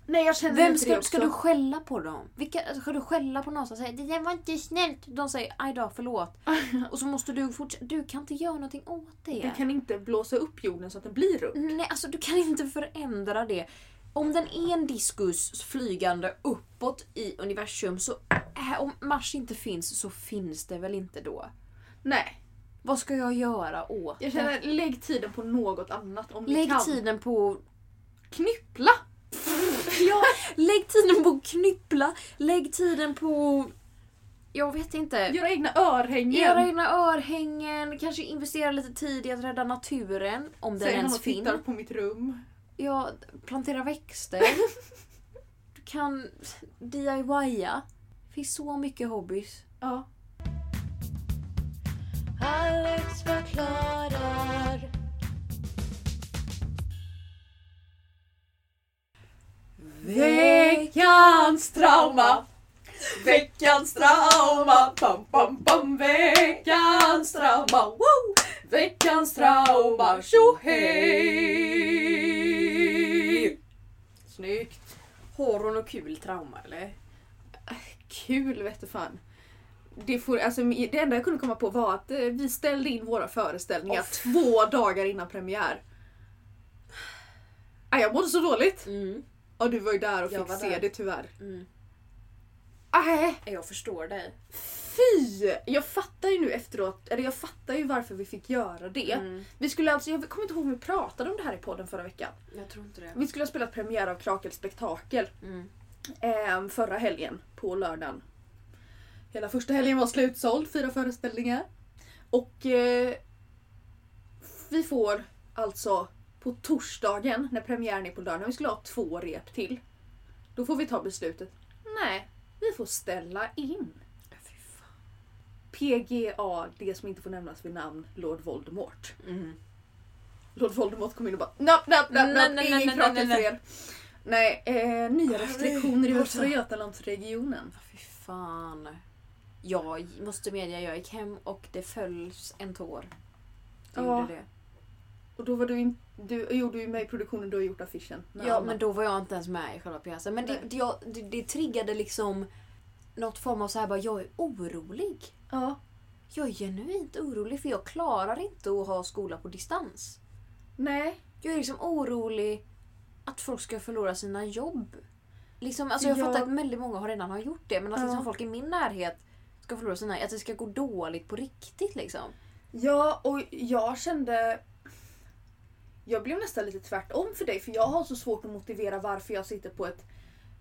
Nej jag känner
Vem
inte det
ska,
också.
ska du skälla på dem? Vilka, alltså, ska du skälla på någon som säger det där var inte snällt? De säger aj då, förlåt. och så måste du fortsätta. Du kan inte göra någonting åt det.
Du kan inte blåsa upp jorden så att den blir rund.
Nej, alltså du kan inte förändra det. Om den är en diskus flygande uppåt i universum så äh, om Mars inte finns så finns det väl inte då?
Nej.
Vad ska jag göra åt
Jag känner, lägg tiden på något annat om
det?
du
Lägg
kan.
tiden på...
Knyppla!
Ja, lägg tiden på knyppla. Lägg tiden på... Jag vet inte.
Göra egna örhängen.
Göra egna örhängen, kanske investera lite tid i att rädda naturen om den
Säger någon
ens
och
finns.
tittar på mitt rum.
Ja, plantera växter. Du kan DIYa. Det finns så mycket hobbys.
Ja.
Alex förklarar.
Veckans trauma! Veckans trauma! Pam, pam, pam! Veckans trauma! Woo! Veckans trauma! Tjo hej! Snyggt!
Har hon något kul trauma eller?
Kul vete fan. Det, får, alltså, det enda jag kunde komma på var att eh, vi ställde in våra föreställningar
Off.
två dagar innan premiär. Ah, jag mådde så dåligt!
Mm.
Ja, du var ju där och
Jag
fick
var
se
där.
det tyvärr.
Mm.
Ah,
Jag förstår dig.
Fy! Jag fattar ju nu efteråt, eller jag fattar ju varför vi fick göra det.
Mm.
Vi skulle alltså, jag kommer inte ihåg om vi pratade om det här i podden förra veckan.
Jag tror inte det.
Vi skulle ha spelat premiär av Krakel Spektakel
Mm.
eh, förra helgen på lördagen. Hela första helgen var slutsåld, fyra föreställningar. Och eh, vi får alltså på torsdagen när premiären är på lördagen, vi skulle ha två rep till. Då får vi ta beslutet. Nej, vi får ställa in.
Fy fan.
PGA, det som inte får nämnas vid namn, Lord Voldemort.
Mm.
Lord Voldemort kom in och bara napp, napp, napp,
Nej,
napp,
nej, nej,
ingen
nej, nej,
krakel för
nej.
er. Nej, eh, nya restriktioner i
Alltså.
Västra Götalandsregionen.
Fy fan. Jag måste medge, jag gick hem och det följs en tår. Det
Ja.
gjorde det.
Och då var du, in, du gjorde ju med i produktionen, du har gjort affischen. med
Ja,
Anna.
men då var jag inte ens med i själva pjäsen. Men det,
Nej.
det, jag, det, det triggade liksom något form av så här bara, jag är orolig.
Ja.
Jag är genuint orolig för jag klarar inte att ha skola på distans.
Nej.
Jag är liksom orolig att folk ska förlora sina jobb. Liksom, alltså jag
Ja.
fattar att väldigt många har redan har gjort det men att
Ja.
liksom folk i min närhet ska förlora sina... Att det ska gå dåligt på riktigt liksom.
Ja, och jag kände... Jag blev nästan lite tvärtom för dig för jag har så svårt att motivera varför jag sitter på ett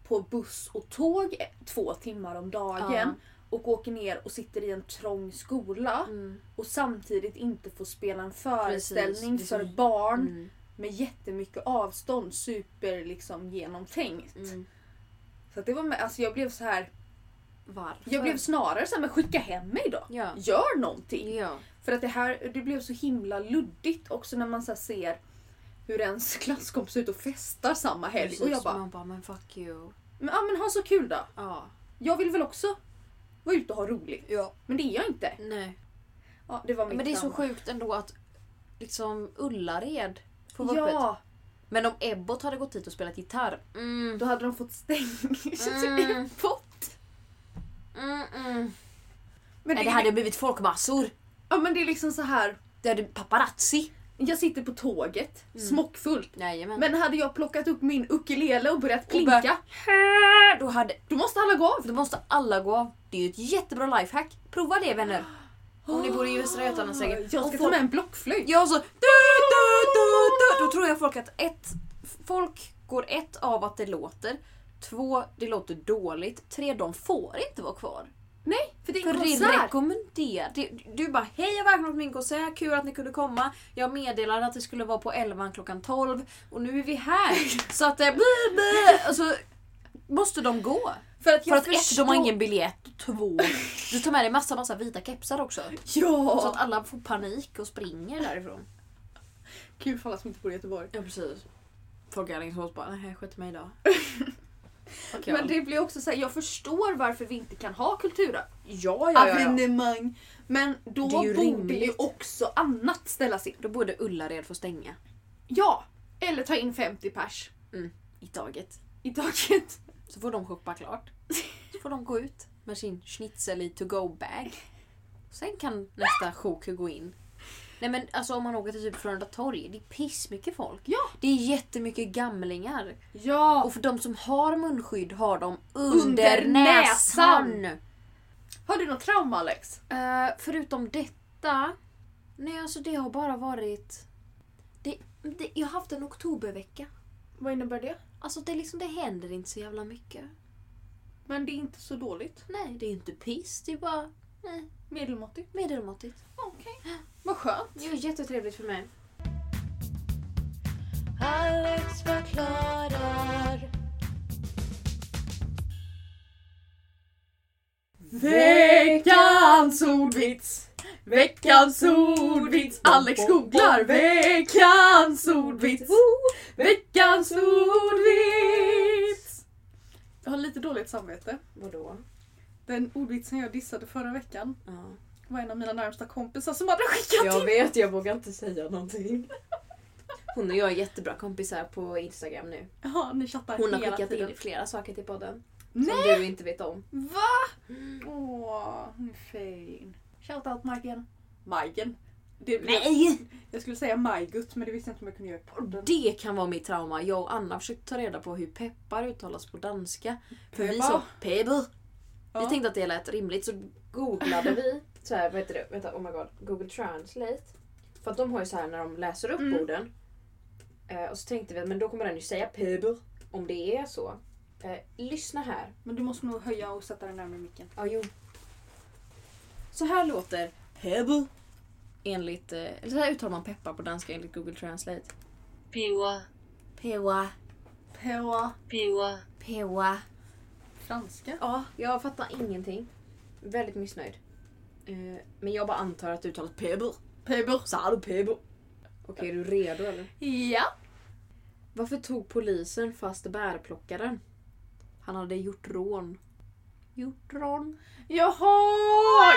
på buss och tåg eh, två timmar om dagen
Ja.
och åker ner och sitter i en trång skola
Mm.
och samtidigt inte får spela en
Precis,
föreställning
det är
för
så-
barn
Mm.
med jättemycket avstånd, super liksom genomtänkt.
Mm.
Så att det var med, alltså jag blev så här.
Varför?
Jag blev snarare så här, men skicka hem mig då.
Ja.
Gör någonting.
Ja.
För att det här det blev så himla luddigt också när man så här ser hur ens klasskompis är ute och festar samma helg.
Precis,
och jag bara,
Man bara, men fuck you.
men, ja, men ha så kul då.
Ja.
Jag vill väl också vara ute och ha roligt.
ja.
Men det är jag inte.
Nej.
Ja, det var mitt
Men det är så
trauma.
sjukt ändå att liksom Ullared får vara öppet.
Ja,
Men om Ebbot hade gått hit och spelat gitarr. Mm.
då hade de fått stänga
Mm.
mm. pott.
Mm, mm.
Men det,
Nej, det hade blivit folkmassor.
ja, men det är liksom så här.
Det hade paparazzi.
Jag sitter på tåget,
Mm.
smockfullt.
Jajamän.
Men hade jag plockat upp min ukulele och börjat
Och
plinka,
börjat- Då, hade,
då måste alla gå av.
då måste alla gå av. Det är ju ett jättebra lifehack. Prova det vänner. Om ni bor i Västra Götaland säkert.
Jag ska
Och
ta
folk-
med en blockflöjt.
Ja, så... Du, du, du, du. Då tror jag folk att ett... Folk går ett av att det låter. Två, det låter dåligt. Tre, de får inte vara kvar.
Nej, för det är
För
en
det är
konsert.
rekommenderat. Du, du bara hej jag var välkommen till min konsert, kul att ni kunde komma. Jag meddelade att det skulle vara på 11 klockan 12 och nu är vi här. Så att eh, bli, bli. Och så måste de gå.
För att,
För att ett, de har ingen biljett och två, du tar med dig massa, massa vita kepsar också.
Ja!
Så att alla får panik och springer därifrån.
Kul för alla som inte bor i Göteborg.
Ja precis. Folk i Alingsås bara, nej skit i mig idag. Okej,
Men det blir också så här, jag förstår varför vi inte kan ha kulturarv.
ja, ja, ja, ja.
Evenemang. Men då
Det är ju
borde ju
rimligt.
också annat ställas in.
Då borde Ullared få stänga
Ja! Eller ta in 50 pers
i taget.
i taget.
Så får de shoppa klart. Så får de gå ut med sin schnitzel i to-go-bag. Sen kan nästa sjok gå in. Nej men alltså om man åker till typ Frölunda torg, det är pissmycket folk.
Ja.
Det är jättemycket gamlingar.
Ja!
Och för de som har munskydd har de under,
Under näsan.
näsan.
har du något trauma Alex?
Eh, förutom detta, nej alltså det har bara varit... Det, det, jag har haft en oktobervecka.
Vad innebär det?
Alltså det, är liksom, det händer inte så jävla mycket.
Men det är inte så dåligt.
Nej, det är inte piss, det är bara nej,
Medelmåttigt.
medelmåttigt.
Okej. Vad skönt.
Det var jättetrevligt för mig.
Alex förklarar.
Veckans ordvits! Veckans ordvits! Alex googlar veckans ordvits! Veckans ordvits! Jag har lite dåligt samvete.
Vadå?
Den ordvitsen jag dissade förra veckan
Ja.
var en av mina närmsta kompisar som hade skickat in.
vet, jag vågar inte säga någonting. Hon och jag är jättebra kompisar på Instagram nu.
Ja, ni chattar
Hon har
hela
skickat
tiden.
in flera saker till podden.
Nej!
Som du inte vet om.
Va? Åh, hon är fin. Shoutout Majken. Majken? Det-
Nej!
Jag skulle säga Majgut men det visste jag inte om jag kunde göra i podden.
Det kan vara mitt trauma. Jag och Anna försökte ta reda på hur peppar uttalas på danska. För vi sa pebble. Vi
Ja.
tänkte att det lät rimligt så googlade vi. Så här, vad heter det? Vänta, oh my god. Google translate. För att de har ju så här när de läser upp
Mm.
orden. Eh, och så tänkte vi att men då kommer den ju säga pebble. Om det är så. Eh, lyssna här.
Men du måste nog höja och sätta den närmare micken.
Ja, jo. Så här låter pebble. Enligt, eh, eller så här uttalar man peppar på danska enligt Google translate.
Piwa,
Pewa,
På
piwa.
pewa.
franska?
Ja, jag fattar ingenting. Väldigt missnöjd. Eh, men jag bara antar att det uttalas pebble.
Pebor.
Sa du pebo? Okej, är du redo eller?
Ja.
Varför tog polisen fast bärplockaren? Han hade gjort rån. Gjort rån?
Jaha!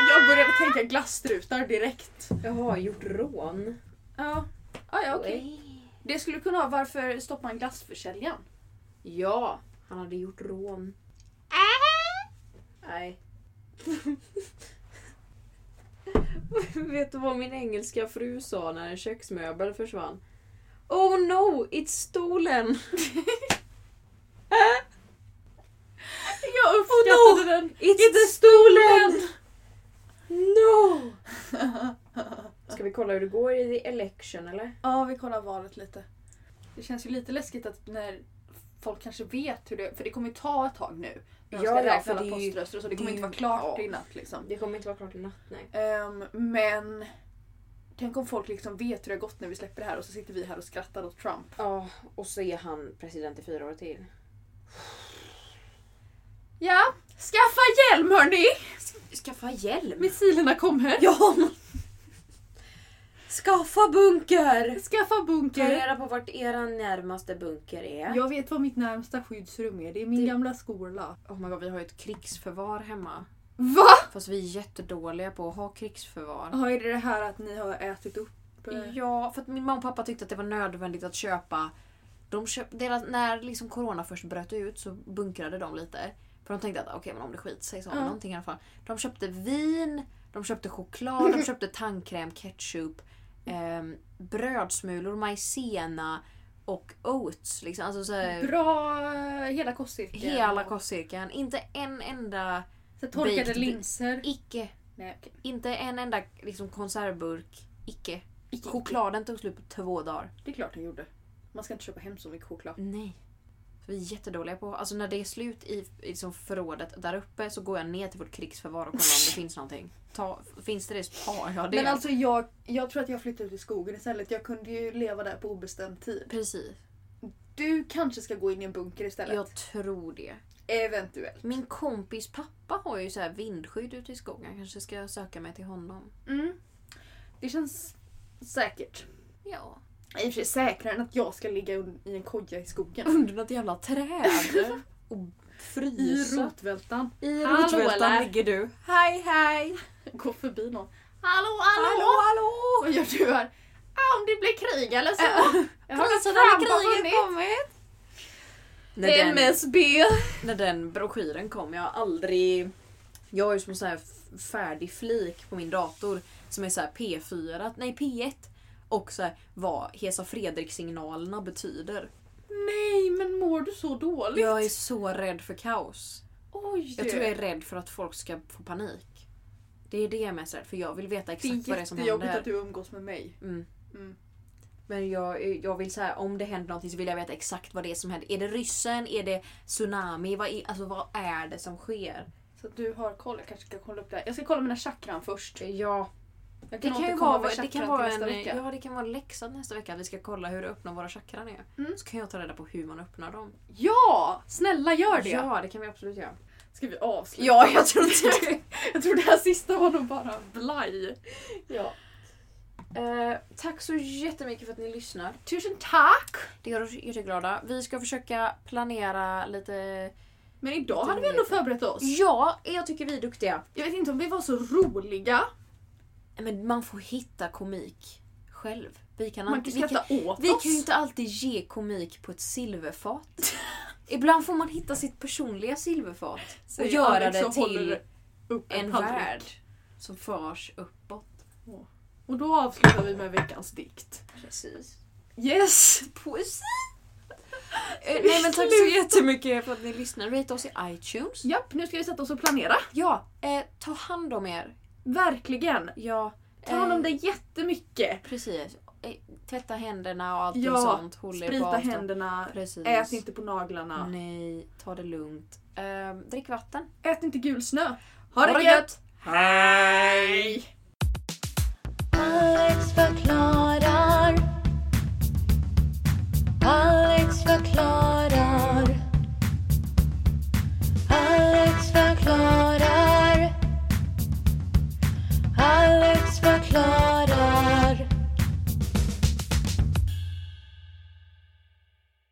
Jag började tänka glasstrutar direkt.
Jaha, gjort rån.
Ja.
Ah, ja, okej.
Det skulle kunna vara varför stoppar man glassförsäljaren?
Ja, han hade gjort rån. Nej. Vet du vad min engelska fru sa när en köksmöbel försvann? Oh no, it's stolen!
Jag uppskattade den!
It's, stolen! No! Ska vi kolla hur det går i the election eller?
Ja, vi kollar valet lite. Det känns ju lite läskigt att när folk kanske vet hur det... För det kommer ju ta ett tag nu. När de
Ja,
ska
ja,
räkna
för
alla
det är ju-
poströster och så. Det
det
kommer
är
inte
ju-
vara klart
ja.
i natt liksom.
Det kommer inte vara klart i natt, nej.
Ehm, men... Tänk om folk liksom vet hur det har gått när vi släpper det här och så sitter vi här och skrattar åt Trump.
Ja, och så är han president i fyra år till.
Ja, skaffa hjälm hörni!
Skaffa hjälm!
Missilerna kommer!
Ja! Skaffa bunker!
Skaffa
Ta
bunker!
reda på vart era närmaste bunker är.
Jag vet vad mitt närmsta skyddsrum är, det är min gamla skola.
Oh my god, vi har ju ett krigsförvar hemma.
VA?
Fast vi är jättedåliga på att ha krigsförvar.
Ja, är det det här att ni har ätit upp? eh,
Ja, för att min mamma och pappa tyckte att det var nödvändigt att köpa. De köp, deras, när liksom corona först bröt ut så bunkrade de lite. För de tänkte att okej, men om det skit sig så har vi
Ja.
någonting i alla fall. De köpte vin, de köpte choklad, de köpte tandkräm, ketchup, ehm, brödsmulor, maizena och oats. Liksom. Alltså så här,
Bra eh, hela kostcirkeln.
hela kostcirkeln. Inte en enda,
Så torkade
baked-
linser.
icke,
Nej, okej.
inte en enda liksom, konservburk, icke.
Icke,
Chokladen tog slut på två dagar.
Det är klart den gjorde. Man ska inte köpa hem så mycket choklad.
Nej. Så vi är jättedåliga på... Alltså när det är slut i, i liksom förrådet där uppe så går jag ner till vårt krigsförvar och kollar om det finns någonting. Ta, finns det det så tar jag det.
Men alltså jag, jag tror att jag flyttar ut i skogen istället. Jag kunde ju leva där på obestämd tid.
Precis.
Du kanske ska gå in i en bunker istället.
Jag tror det.
Eventuellt.
Min kompis pappa har ju så här vindskydd ute i skogen. Jag kanske ska söka mig till honom.
Mm. Det känns säkert.
Ja.
I och för sig säkrare än att jag ska ligga un- i en koja i skogen.
Under något jävla träd. och
I
frysa.
rotvältan.
I
Hallå,
rotvältan
eller?
ligger du. Hej hej!
Gå förbi någon.
Hallå,
Hallå hallå!
Vad gör du här? Ah, om det blir krig eller
Äh,
så. Jag har
Priserna
Trump har
när kriget
vunnit.
kommit! När den-
MSB.
när den broschyren kom, jag har aldrig... Jag har ju som en sån här f- färdig flik på min dator som är så här P4, nej P1 och så här vad Hesa Fredrik-signalerna betyder.
Nej men mår du så dåligt?
Jag är så rädd för kaos.
Oj!
Jag tror jag är rädd för att folk ska få panik. Det är det jag är mest rädd för, jag vill veta
det
exakt
är
vad det är som
jättejobbigt att
händer.
du umgås med mig.
Mm.
Mm.
Men jag, jag vill så här, om det händer någonting så vill jag veta exakt vad det är som händer. Är det ryssen? Är det tsunami? Vad är, alltså, vad är det som sker?
Så att du har koll, jag kanske ska kolla upp det här. Jag ska kolla mina chakran först.
Ja,
Jag
Det kan ju
återkomma
vara,
med
det
chakran
kan
till
vara
nästa
en,
vecka.
ja, det kan vara en läxa nästa vecka att vi ska kolla hur öppna våra chakran är.
Mm.
Så kan jag ta reda på hur man öppnar dem.
Ja! Snälla gör det!
Ja, det kan vi absolut göra.
Ska vi avsluta?
Ja, jag tror inte det.
jag tror det här sista var nog bara blaj. Ja.
Eh, tack så jättemycket för att ni lyssnar.
Tusen tack!
Det gör oss jätteglada. Vi ska försöka planera lite...
Men idag hade vi ändå förberett oss.
Ja, jag tycker vi är duktiga.
Jag vet inte om vi var så roliga.
Men man får hitta komik själv. Vi kan,
Man kan
alltid, vi kan,
skratta åt
vi
oss.
kan ju inte alltid ge komik på ett silverfat. Ibland får man hitta sitt personliga silverfat.
Säger
och göra
Alex
det
och håller
till
upp
en
tallrik.
värld som förs uppåt.
Och då avslutar vi med veckans dikt.
Precis.
Yes!
Poesi! Eh, Nej men tack så jättemycket för att ni lyssnar. Rate oss i iTunes.
Japp, nu ska vi sätta oss och planera.
Ja, eh, ta hand om er.
Verkligen!
Ja,
Ta hand om
eh,
dig jättemycket.
Precis. Eh, tvätta händerna och allt
Ja,
och sånt. Håll er på
Sprita
avstånd.
händerna,
Precis.
ät inte på naglarna,
Nej, ta det lugnt. Eh, drick vatten.
ät inte gul snö. Ha det gött! Hej!
Alex var